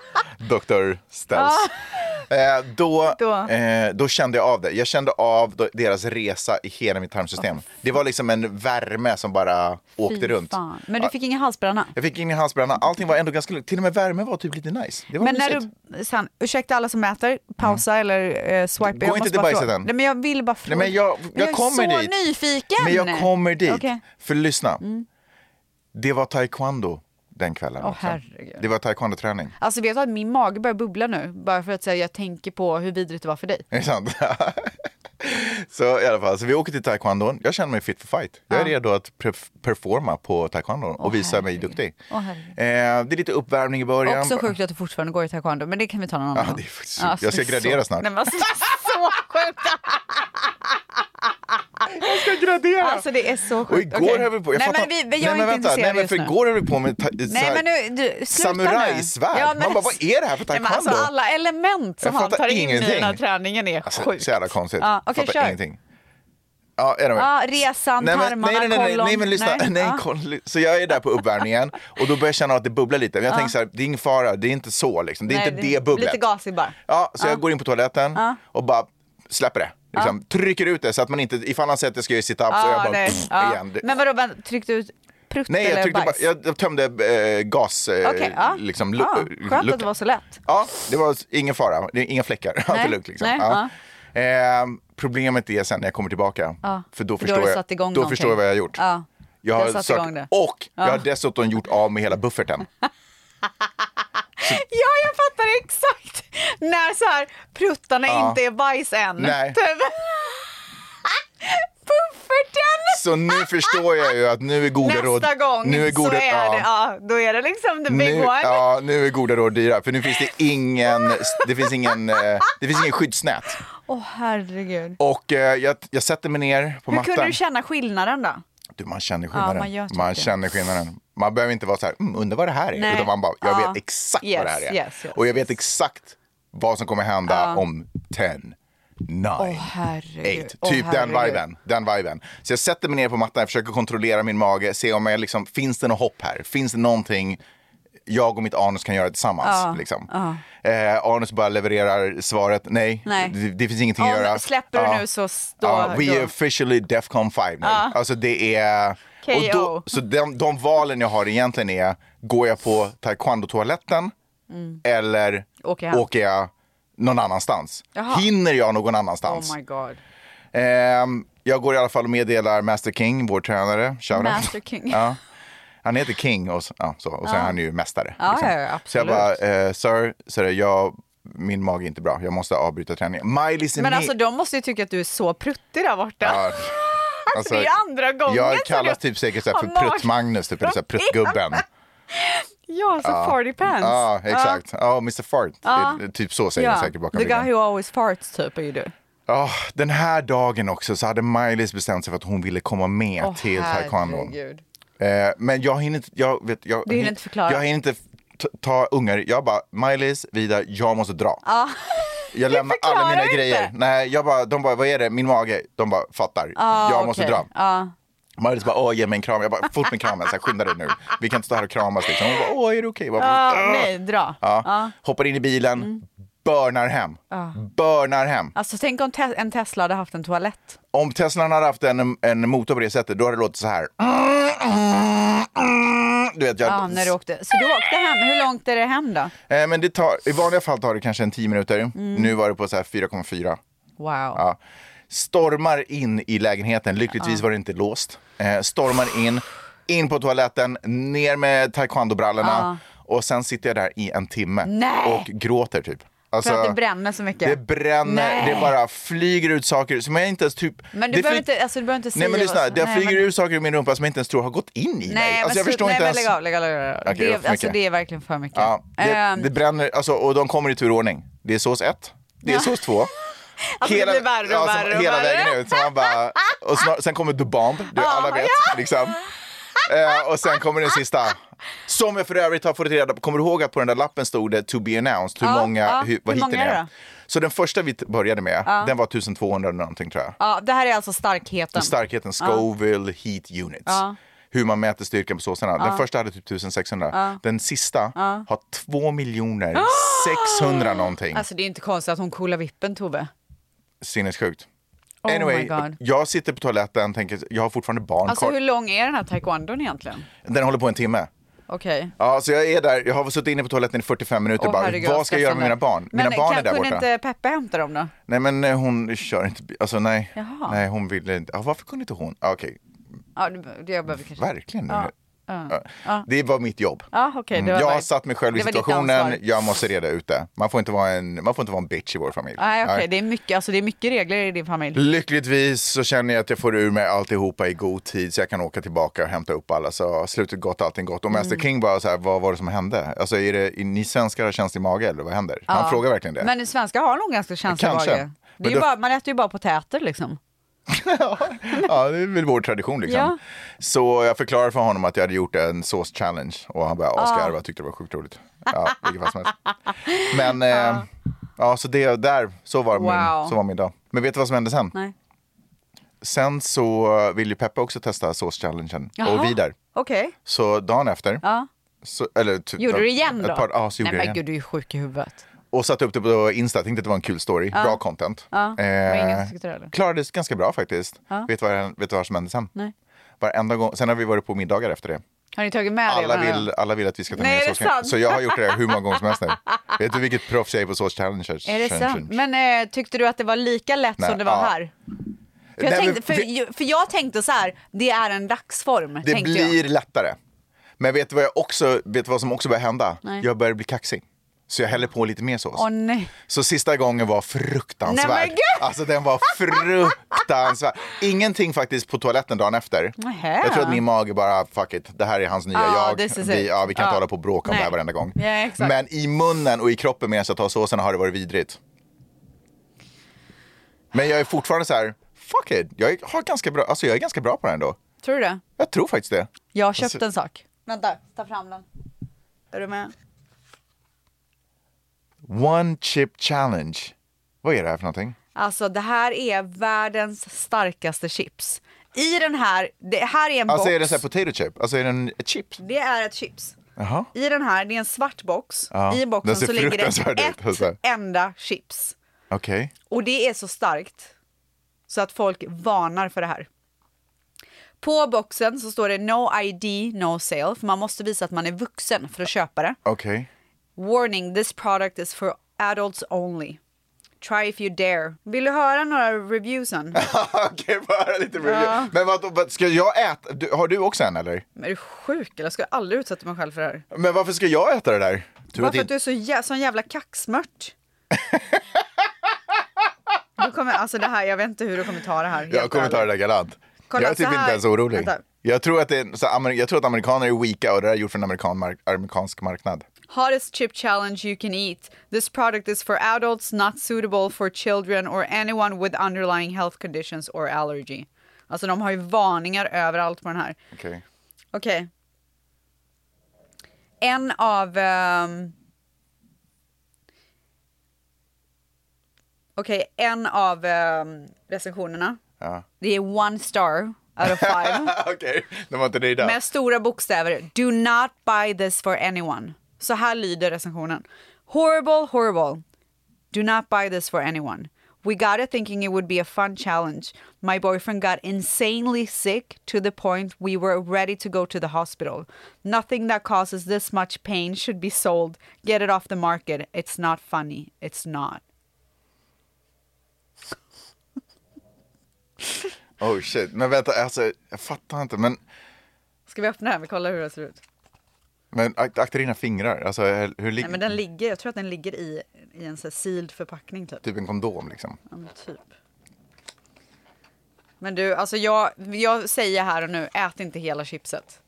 Speaker 2: Dr. Stels. Eh, då,
Speaker 1: Då.
Speaker 2: Eh, då kände jag av det. Jag kände av då- deras resa i hela mitt tarmsystem. Det var liksom en värme som bara åkte
Speaker 1: Fy
Speaker 2: runt.
Speaker 1: fan. Men du fick ingen halsbränna?
Speaker 2: Jag fick in i halsbränna. Allting var ändå ganska lugnt. Till och med värme var typ lite nice. Det var
Speaker 1: Men när
Speaker 2: mysigt. Mm.
Speaker 1: du, sen, ursäkta alla som äter, pausa eller eh, swipa.
Speaker 2: Gå
Speaker 1: Jag
Speaker 2: inte
Speaker 1: måste
Speaker 2: till
Speaker 1: bara
Speaker 2: bajset
Speaker 1: fråga.
Speaker 2: än.
Speaker 1: Nej men jag vill bara fråga.
Speaker 2: Nej, men jag,
Speaker 1: Men
Speaker 2: jag, kommer
Speaker 1: är så
Speaker 2: dit.
Speaker 1: nyfiken.
Speaker 2: Men jag kommer dit.
Speaker 1: Okej. Mm.
Speaker 2: För lyssna. Det var taekwondo den kvällen.
Speaker 1: Åh,
Speaker 2: också.
Speaker 1: herregud.
Speaker 2: det var taekwondo-träning.
Speaker 1: Alltså vet du att min mage börjar bubbla nu, bara för att säga, jag tänker på hur vidrigt det var för dig.
Speaker 2: Är det sant? så i alla fall, så vi åker till taekwondon. Jag känner mig fit for fight. Jag är redo att pre- performa på taekwondon och visa mig duktig.
Speaker 1: Åh,
Speaker 2: eh,
Speaker 1: herregud.
Speaker 2: det är lite uppvärmning i början.
Speaker 1: Också sjukt att du fortfarande går i taekwondo, men det kan vi ta någon annan
Speaker 2: Ja,
Speaker 1: gång.
Speaker 2: det är faktiskt
Speaker 1: Ja,
Speaker 2: sjukt. Jag ska
Speaker 1: det är
Speaker 2: gradera
Speaker 1: så...
Speaker 2: snart.
Speaker 1: Nej, men alltså, det är så sjukt!
Speaker 2: Jag graderar!
Speaker 1: Alltså det är så sjukt.
Speaker 2: och igår
Speaker 1: Okej.
Speaker 2: höll vi på...
Speaker 1: nej
Speaker 2: fattar-
Speaker 1: men vi, men jag
Speaker 2: nej, men
Speaker 1: är inte
Speaker 2: vänta,
Speaker 1: intresserad
Speaker 2: nej, men
Speaker 1: just
Speaker 2: för
Speaker 1: nu.
Speaker 2: Igår höll vi på med ta, så
Speaker 1: Nej
Speaker 2: här,
Speaker 1: men nu, du, sluta
Speaker 2: samurajsvärd.
Speaker 1: nu. Ja, men-
Speaker 2: Man bara, vad är det här för
Speaker 1: Nej, men
Speaker 2: taekwondo?
Speaker 1: alltså alla element som
Speaker 2: Jag
Speaker 1: han
Speaker 2: fattar
Speaker 1: tar in i den här
Speaker 2: ingenting.
Speaker 1: träningen är
Speaker 2: Alltså,
Speaker 1: sjukt.
Speaker 2: Så jävla konstigt.
Speaker 1: Ja, okej,
Speaker 2: Fattar
Speaker 1: kör.
Speaker 2: ingenting. Ja, anyway.
Speaker 1: Ja, resan,
Speaker 2: Nej, men,
Speaker 1: tarmarna,
Speaker 2: nej, nej, nej, nej,
Speaker 1: kollon.
Speaker 2: nej, men lyssna. Nej,
Speaker 1: Ja.
Speaker 2: koll, så jag är där på uppvärmningen och då börjar jag känna att det bubblar lite. Men jag tänker så här, det är ingen fara, det är inte så liksom. Det är
Speaker 1: Nej,
Speaker 2: inte
Speaker 1: det-
Speaker 2: det bubblet.
Speaker 1: lite gasig bara.
Speaker 2: Ja, så jag går in på toaletten och bara släpper det. Liksom, Trycker ut det så att man inte, ifall han säger att jag ska göra sit-up så
Speaker 1: Ja,
Speaker 2: jag bara
Speaker 1: nej.
Speaker 2: pff,
Speaker 1: Ja.
Speaker 2: igen. Det-
Speaker 1: Men vadå, vänta, tryckte du ut prutt
Speaker 2: Nej, jag,
Speaker 1: eller
Speaker 2: tryckte bara,
Speaker 1: bajs?
Speaker 2: jag, jag tömde eh, gas... Eh,
Speaker 1: Okej, ja.
Speaker 2: liksom, lu-
Speaker 1: ah, skönt att det
Speaker 2: luckan.
Speaker 1: var så lätt.
Speaker 2: Ja, det var ingen fara. Det är inga fläckar. Allt är lugnt. Liksom.
Speaker 1: nej,
Speaker 2: ja. Ehm, problemet är sen när jag kommer tillbaka.
Speaker 1: Ja,
Speaker 2: För då
Speaker 1: för då har
Speaker 2: förstår,
Speaker 1: du
Speaker 2: jag,
Speaker 1: satt igång
Speaker 2: då
Speaker 1: någonting.
Speaker 2: förstår jag vad jag har gjort.
Speaker 1: Ja.
Speaker 2: Jag
Speaker 1: har
Speaker 2: har
Speaker 1: satt
Speaker 2: sökt-
Speaker 1: igång det.
Speaker 2: Och jag har dessutom gjort av med hela bufferten.
Speaker 1: Ja, jag fattar exakt när så här pruttarna
Speaker 2: Ja.
Speaker 1: inte är bajs än.
Speaker 2: Nej.
Speaker 1: Typ. Pufferten!
Speaker 2: Så nu förstår jag ju att nu är goda råd...
Speaker 1: Nästa gång
Speaker 2: nu är goda,
Speaker 1: så är
Speaker 2: ja.
Speaker 1: det, ja, då är det liksom the big
Speaker 2: nu,
Speaker 1: one.
Speaker 2: ja, nu är goda råd dyra. För nu finns det ingen, det finns ingen, eh, det finns ingen skyddsnät.
Speaker 1: Åh herregud.
Speaker 2: Och eh, jag, jag sätter mig ner på
Speaker 1: Hur
Speaker 2: mattan.
Speaker 1: kunde du känna skillnaden då?
Speaker 2: Du, man känner skillnaden.
Speaker 1: Ja, man
Speaker 2: man
Speaker 1: gör typ det.
Speaker 2: känner skillnaden. Man behöver inte vara så här, mm, undrar vad det här är.
Speaker 1: Nej.
Speaker 2: Utan man bara, jag
Speaker 1: Ja.
Speaker 2: vet exakt
Speaker 1: Yes,
Speaker 2: vad det här är.
Speaker 1: yes, yes,
Speaker 2: och jag vet exakt vad som kommer hända om 10, 9,
Speaker 1: herregud.
Speaker 2: 8.
Speaker 1: Åh,
Speaker 2: Typ den
Speaker 1: herregud.
Speaker 2: viben, den viben. Så jag sätter mig ner på mattan, jag försöker kontrollera min mage, se om jag liksom, finns det något hopp här? Finns det någonting jag och mitt anus kan göra tillsammans? Liksom. Eh, anus bara levererar svaret, nej,
Speaker 1: Nej.
Speaker 2: Det, det finns ingenting
Speaker 1: Om
Speaker 2: att göra.
Speaker 1: släpper du
Speaker 2: Ja.
Speaker 1: nu så s- då,
Speaker 2: Ja,
Speaker 1: då.
Speaker 2: we are officially Defcon 5 nu. Alltså det är...
Speaker 1: KO.
Speaker 2: Och då, så de, de valen jag har egentligen är, går jag på taekwondo-toaletten eller
Speaker 1: Mm. Åker hem.
Speaker 2: åker jag någon annanstans?
Speaker 1: Jaha.
Speaker 2: Hinner jag någon annanstans?
Speaker 1: Oh my god.
Speaker 2: Ehm, jag går i alla fall och meddelar Master King, vår tränare. Shoutout.
Speaker 1: Master King.
Speaker 2: ja. Han heter King och, s- ja, så, och sen är han ju mästare. liksom.
Speaker 1: Ja, ja, ja,
Speaker 2: så jag
Speaker 1: absolut.
Speaker 2: bara, eh, sir, sir jag, min mage är inte bra, jag måste avbryta träningen. Miley's
Speaker 1: Men alltså de måste ju tycka att du är så pruttig där borta.
Speaker 2: Ja.
Speaker 1: Alltså, det är andra gången som
Speaker 2: Jag kallas
Speaker 1: du-
Speaker 2: typ säkert så här
Speaker 1: har
Speaker 2: för
Speaker 1: mage.
Speaker 2: Prutt-Magnus, typ, eller så här Pruttgubben.
Speaker 1: Ja, så party pants.
Speaker 2: Ja, exakt. Ja, Mr Fart. Det är Typ så säger de säkert bakom
Speaker 1: The guy
Speaker 2: ryggen.
Speaker 1: who always farts typ är ju du.
Speaker 2: Ja, den här dagen också så hade Miley's bestämt sig för att hon ville komma med
Speaker 1: Åh,
Speaker 2: till taekwondo.
Speaker 1: herregud.
Speaker 2: Eh, men jag hinner inte... Jag, vet, jag,
Speaker 1: Du hinner inte förklara.
Speaker 2: Jag hinner inte t- ta ungar. Jag bara, Miley's, Vida, jag måste dra. Jag lämnar alla
Speaker 1: förklarar
Speaker 2: mina
Speaker 1: inte.
Speaker 2: grejer. Nej, jag bara, de bara, vad är det? Min mage. De bara, fattar. jag måste
Speaker 1: Ah, okej.
Speaker 2: dra. Magnus bara, åh ge mig en kram. Jag bara, fort med kramen, så här, skynda dig nu. Vi kan inte stå här och kramas liksom. Hon bara, åh är det okej? Okay?
Speaker 1: Ja, Ah, nej, Mm. dra.
Speaker 2: Ja. Hoppar in i bilen, börnar hem. Börnar hem.
Speaker 1: Alltså tänk om te- en Tesla hade haft en toalett.
Speaker 2: Om Teslan hade haft en, en motor på det sättet, då hade det låtit så här. Du vet, jag,
Speaker 1: Ja, Ah, när du åkte. Så du åkte hem. Hur långt är det Mm. hem då?
Speaker 2: Eh, men det tar, i vanliga fall tar det kanske en 10 minuter. Nu var det på så här 4,4.
Speaker 1: Wow.
Speaker 2: Ja. Stormar in i lägenheten, lyckligtvis var det inte låst. Eh, stormar in, in på toaletten, ner med taekwondobrallorna och sen sitter jag där i en timme
Speaker 1: Nej.
Speaker 2: och gråter typ. Alltså,
Speaker 1: För att det bränner så mycket.
Speaker 2: Det bränner,
Speaker 1: Nej.
Speaker 2: det bara flyger ut saker som jag inte ens typ...
Speaker 1: Men du
Speaker 2: det
Speaker 1: behöver
Speaker 2: fly-
Speaker 1: inte- alltså, du behöver inte
Speaker 2: Nej
Speaker 1: säga
Speaker 2: men
Speaker 1: vad
Speaker 2: lyssna,
Speaker 1: som-
Speaker 2: det
Speaker 1: nej,
Speaker 2: flyger
Speaker 1: men-
Speaker 2: ut saker ur min rumpa som inte ens tror har gått in i mig.
Speaker 1: Nej,
Speaker 2: Alltså,
Speaker 1: men
Speaker 2: jag
Speaker 1: slut-
Speaker 2: förstår
Speaker 1: nej,
Speaker 2: inte
Speaker 1: men
Speaker 2: ens...
Speaker 1: lägg av, lägg av, lägg av.
Speaker 2: Okej, det var
Speaker 1: det,
Speaker 2: för
Speaker 1: alltså,
Speaker 2: mycket.
Speaker 1: det är verkligen för mycket.
Speaker 2: Ja, det,
Speaker 1: Ehm,
Speaker 2: det bränner, alltså, och de kommer i turordning. Det är sås 1, det är sås 2.
Speaker 1: Alltså, det blir värre och
Speaker 2: ja, som-
Speaker 1: värre och
Speaker 2: Hela
Speaker 1: värre.
Speaker 2: vägen ut. Så man bara, och snar, sen kommer The Bomb, du, alla vet. Liksom. Eh, och sen kommer den sista. Som jag för övrigt har fått reda på. Kommer du ihåg att på den där lappen stod det to be announced? Hur
Speaker 1: Ja,
Speaker 2: många,
Speaker 1: ja.
Speaker 2: hur,
Speaker 1: Hur
Speaker 2: vad hiten
Speaker 1: många är det
Speaker 2: är.
Speaker 1: då?
Speaker 2: Så den första vi t- började med, den var 1200 någonting tror jag.
Speaker 1: ja, det här är alltså starkheten.
Speaker 2: Starkheten Scoville Heat Units. Hur man mäter styrkan på såsarna. Den första hade typ 1600. Den sista har 2 miljoner 600 någonting.
Speaker 1: Alltså det är inte konstigt att hon coolar vippen Tove.
Speaker 2: Sinnessjukt.
Speaker 1: Oh
Speaker 2: anyway,
Speaker 1: my God.
Speaker 2: jag sitter på toaletten tänker jag har fortfarande barn
Speaker 1: Alltså
Speaker 2: kvar.
Speaker 1: hur lång är den här taekwondon egentligen?
Speaker 2: Den håller på en timme.
Speaker 1: Okej.
Speaker 2: Ja, så jag är där. Jag har suttit inne på toaletten i 45 minuter
Speaker 1: Åh,
Speaker 2: bara.
Speaker 1: herregud,
Speaker 2: Vad ska jag göra med mina barn?
Speaker 1: Men
Speaker 2: mina barn
Speaker 1: kan,
Speaker 2: är där
Speaker 1: kunde
Speaker 2: borta.
Speaker 1: inte Peppe hämta dem då?
Speaker 2: Nej, men eh, hon kör inte. bi- Alltså nej.
Speaker 1: Jaha.
Speaker 2: Nej, hon ville inte. Ja, varför kunde inte hon? Ja, Okej,
Speaker 1: Ja, det, det jag behöver kanske.
Speaker 2: verkligen. Ja. Det var mitt jobb. Mm.
Speaker 1: Ja, okej. det var
Speaker 2: jag
Speaker 1: bara-
Speaker 2: har satt mig själv i
Speaker 1: det var ditt
Speaker 2: situationen,
Speaker 1: ansvar.
Speaker 2: jag måste reda ut det. Man får inte vara en, man får inte vara en bitch i vår familj.
Speaker 1: Nej, okej.
Speaker 2: Nej.
Speaker 1: Det, är mycket, alltså, det är mycket regler i din familj.
Speaker 2: Lyckligtvis så känner jag att jag får ur mig alltihopa i god tid så jag kan åka tillbaka och hämta upp alla. Så slutet gott, allting gott. Och
Speaker 1: Mm.
Speaker 2: Mäster King bara så här, vad var det som hände? Alltså är det, är ni svenskar har känslig mage eller vad händer? Han frågar verkligen det.
Speaker 1: Men svenskar har nog ganska känslig
Speaker 2: Kanske.
Speaker 1: mage. Det
Speaker 2: Men
Speaker 1: är ju
Speaker 2: då-
Speaker 1: bara, man äter ju bara potäter liksom.
Speaker 2: Ja, det är väl vår tradition liksom.
Speaker 1: Ja.
Speaker 2: Så jag förklarar för honom att jag hade gjort en sås challenge och han började
Speaker 1: Ah.
Speaker 2: asgarva och tyckte det var sjukt roligt. Ja, vilket fall som helst. Men eh, ja, så det där, så var,
Speaker 1: Ah. Wow.
Speaker 2: min, så var min dag. Men vet du vad som hände sen?
Speaker 1: Nej.
Speaker 2: Sen så vill ju Peppa också testa sås challengen och
Speaker 1: Jaha.
Speaker 2: vidare.
Speaker 1: Okej.
Speaker 2: Så dagen efter,
Speaker 1: Ja.
Speaker 2: så, eller typ,
Speaker 1: Gjorde du det igen då?
Speaker 2: ett par- ja, så gjorde
Speaker 1: Nej
Speaker 2: jag
Speaker 1: men gud,
Speaker 2: igen.
Speaker 1: du är ju sjuk i huvudet.
Speaker 2: Och satte upp det på Insta, tänkte att det var en kul story, bra content. Eh,
Speaker 1: Ja, men ingen som tyckte det, eller?
Speaker 2: klarades ganska bra faktiskt. Vet du vad, vet du vad som hände sen?
Speaker 1: Nej.
Speaker 2: Varenda gång. Sen har vi varit på middagar efter det.
Speaker 1: Har ni tagit med det?
Speaker 2: Alla
Speaker 1: menar
Speaker 2: vill, alla vill att vi ska ta
Speaker 1: Nej,
Speaker 2: med
Speaker 1: är det
Speaker 2: såsken.
Speaker 1: sant?
Speaker 2: Så jag har gjort det hur många gånger som helst nu. Vet du vilket proffs jag är på Sås Challenge?
Speaker 1: jag? Är det sant? Men eh, tyckte du att det var lika lätt
Speaker 2: Nej,
Speaker 1: som det var
Speaker 2: ja.
Speaker 1: här? För jag,
Speaker 2: Nej, men
Speaker 1: tänkte, för,
Speaker 2: vi-
Speaker 1: ju- för jag tänkte så här, det är en dagsform.
Speaker 2: Det
Speaker 1: tänkte
Speaker 2: blir
Speaker 1: jag.
Speaker 2: lättare. Men vet du vad, jag också, vet du vad som också börjar hända?
Speaker 1: Nej.
Speaker 2: Jag börjar bli kaxig. Så jag häller på lite mer sås.
Speaker 1: Åh nej.
Speaker 2: Så sista gången var fruktansvärd.
Speaker 1: Nej, men gud!
Speaker 2: alltså den var fruktansvärd. Ingenting faktiskt på toaletten dagen efter.
Speaker 1: Nähä.
Speaker 2: Jag tror att min mage bara, fuck it, det här är hans nya
Speaker 1: Ja,
Speaker 2: jag.
Speaker 1: this is
Speaker 2: Vi,
Speaker 1: it.
Speaker 2: ja, vi kan
Speaker 1: Ja.
Speaker 2: inte hålla på och bråka om
Speaker 1: Nej.
Speaker 2: det här varenda gång.
Speaker 1: Ja, exakt.
Speaker 2: Men i munnen och i kroppen medan jag tar såsen har det varit vidrigt. Men jag är fortfarande så här, fuck it, jag, har ganska bra, alltså jag är ganska bra på det här ändå.
Speaker 1: Tror du det?
Speaker 2: Jag tror faktiskt det.
Speaker 1: Jag har köpt
Speaker 2: Alltså-
Speaker 1: en sak. Vänta, ta fram den. Är du med?
Speaker 2: One chip challenge. Vad är det här för någonting?
Speaker 1: Alltså det här är världens starkaste chips. I den här, det här är en
Speaker 2: Alltså
Speaker 1: box.
Speaker 2: är det så här potato chip? Alltså är det en ett chip?
Speaker 1: Det är ett chips.
Speaker 2: Jaha.
Speaker 1: I den här, det är en svart box.
Speaker 2: Ja,
Speaker 1: I boxen
Speaker 2: den ser
Speaker 1: så ligger
Speaker 2: fruktansvärd
Speaker 1: det
Speaker 2: ut,
Speaker 1: ett
Speaker 2: alltså.
Speaker 1: enda chips.
Speaker 2: Okej.
Speaker 1: Och det är så starkt så att folk varnar för det här. På boxen så står det no ID, no sale, för man måste visa att man är vuxen för att köpa det.
Speaker 2: Okej.
Speaker 1: Warning, this product is for adults only. Try if you dare. Vill du höra några reviewsen?
Speaker 2: Okej, bara höra lite review. Men vad, vad, ska jag äta? Du, har du också en eller?
Speaker 1: Men är du sjuk eller? Jag skulle aldrig utsätta mig själv för det här.
Speaker 2: Men varför ska jag äta det där? Tur
Speaker 1: Bara för att
Speaker 2: inte-
Speaker 1: du är så jä- sån jävla kaxmört. Du kommer, alltså det här, jag vet inte hur du kommer ta det här. helt
Speaker 2: Jag kommer ta det
Speaker 1: ärligt.
Speaker 2: där galant.
Speaker 1: Kolla,
Speaker 2: jag är typ
Speaker 1: så här-
Speaker 2: inte ens orolig.
Speaker 1: Vänta.
Speaker 2: Jag tror, att det är, så, amer- jag tror att amerikaner är weaka och det där är gjort för en amerikan mark, amerikansk marknad.
Speaker 1: Hottest chip challenge you can eat. This product is for adults, not suitable for children or anyone with underlying health conditions or allergy. Alltså de har ju varningar överallt på den här.
Speaker 2: Okej.
Speaker 1: Okej. En av... ehm, Okej, en av ehm, recensionerna.
Speaker 2: Ja.
Speaker 1: Det är one star out of five.
Speaker 2: Okej, de var inte nöjda.
Speaker 1: Med stora bokstäver. Do not buy this for anyone. Så här lyder recensionen. Horrible, horrible. Do not buy this for anyone. We got it thinking it would be a fun challenge. My boyfriend got insanely sick to the point we were ready to go to the hospital. Nothing that causes this much pain should be sold. Get it off the market. It's not funny. It's not.
Speaker 2: Oh shit, men vänta, alltså, jag fattar inte. Men,
Speaker 1: Ska vi öppna den? Vi kollar hur det ser ut.
Speaker 2: men ak- akta dina fingrar. Alltså, hur ligger...
Speaker 1: Nej, men den ligger, jag tror att den ligger i, i en så här sealed förpackning typ.
Speaker 2: Typ en kondom liksom.
Speaker 1: Ja, men typ. Men du, alltså jag, jag säger här och nu, ät inte hela chipset.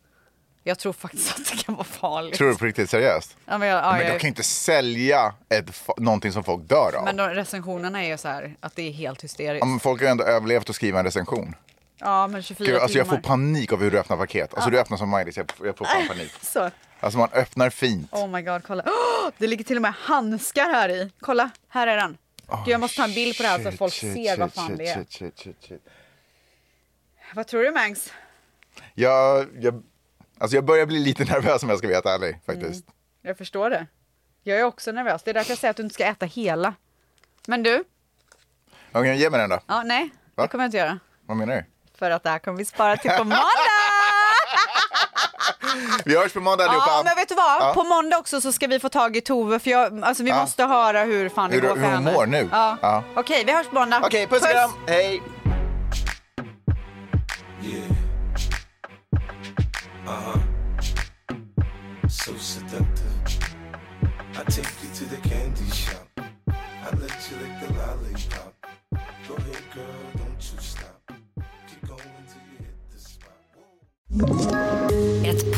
Speaker 1: Jag tror faktiskt att det kan vara farligt.
Speaker 2: Tror du på riktigt seriöst?
Speaker 1: Ja, men jag, ja,
Speaker 2: men
Speaker 1: jag,
Speaker 2: de kan ju inte sälja ett, fa- någonting som folk dör av.
Speaker 1: men de, recensionerna är ju så här att det är helt hysteriskt.
Speaker 2: Ja, men folk har ju ändå överlevt att skriva en recension.
Speaker 1: ja, men 24
Speaker 2: Gud, alltså jag
Speaker 1: timmar. Äh.
Speaker 2: får panik av hur du öppnar paket. Alltså du öppnar som Maj-Lis, jag, jag får fan panik.
Speaker 1: så.
Speaker 2: Alltså man öppnar fint.
Speaker 1: Oh my god, kolla. Åh, det ligger till och med handskar här i. Kolla, här är den. Gud, jag måste ta en bild på det här så att folk
Speaker 2: Ah, Shit,
Speaker 1: ser
Speaker 2: shit,
Speaker 1: vad fan
Speaker 2: shit,
Speaker 1: det är.
Speaker 2: shit, shit, shit, shit.
Speaker 1: Vad tror du Mangs?
Speaker 2: Jag, jag, alltså jag börjar bli lite nervös om jag ska vara helt ärlig faktiskt.
Speaker 1: Jag förstår det. Jag är också nervös. Det är därför jag säger att du inte ska äta hela. Men du,
Speaker 2: Okej, ge mig den då.
Speaker 1: ja, nej,
Speaker 2: Va?
Speaker 1: det kommer jag inte göra.
Speaker 2: Vad menar du?
Speaker 1: För att det här kommer vi spara till på måndag!
Speaker 2: Vi hörs på måndag allihopa.
Speaker 1: ja, men vet du vad?
Speaker 2: Ja.
Speaker 1: På måndag också så ska vi få tag i Tove för jag, alltså, vi
Speaker 2: Ja.
Speaker 1: måste höra hur fan det
Speaker 2: Hur-
Speaker 1: går för
Speaker 2: hur hon
Speaker 1: henne.
Speaker 2: mår nu.
Speaker 1: Ja.
Speaker 2: Ja.
Speaker 1: Okej, vi hörs på måndag.
Speaker 2: Okej, puss och kram. Hej.
Speaker 3: Yeah. Uh huh. So seductive. I take you to the candy shop. I let you lick the lollipop. Go ahead, girl, don't you stop. Keep going till you hit the spot. Whoa.
Speaker 4: Ett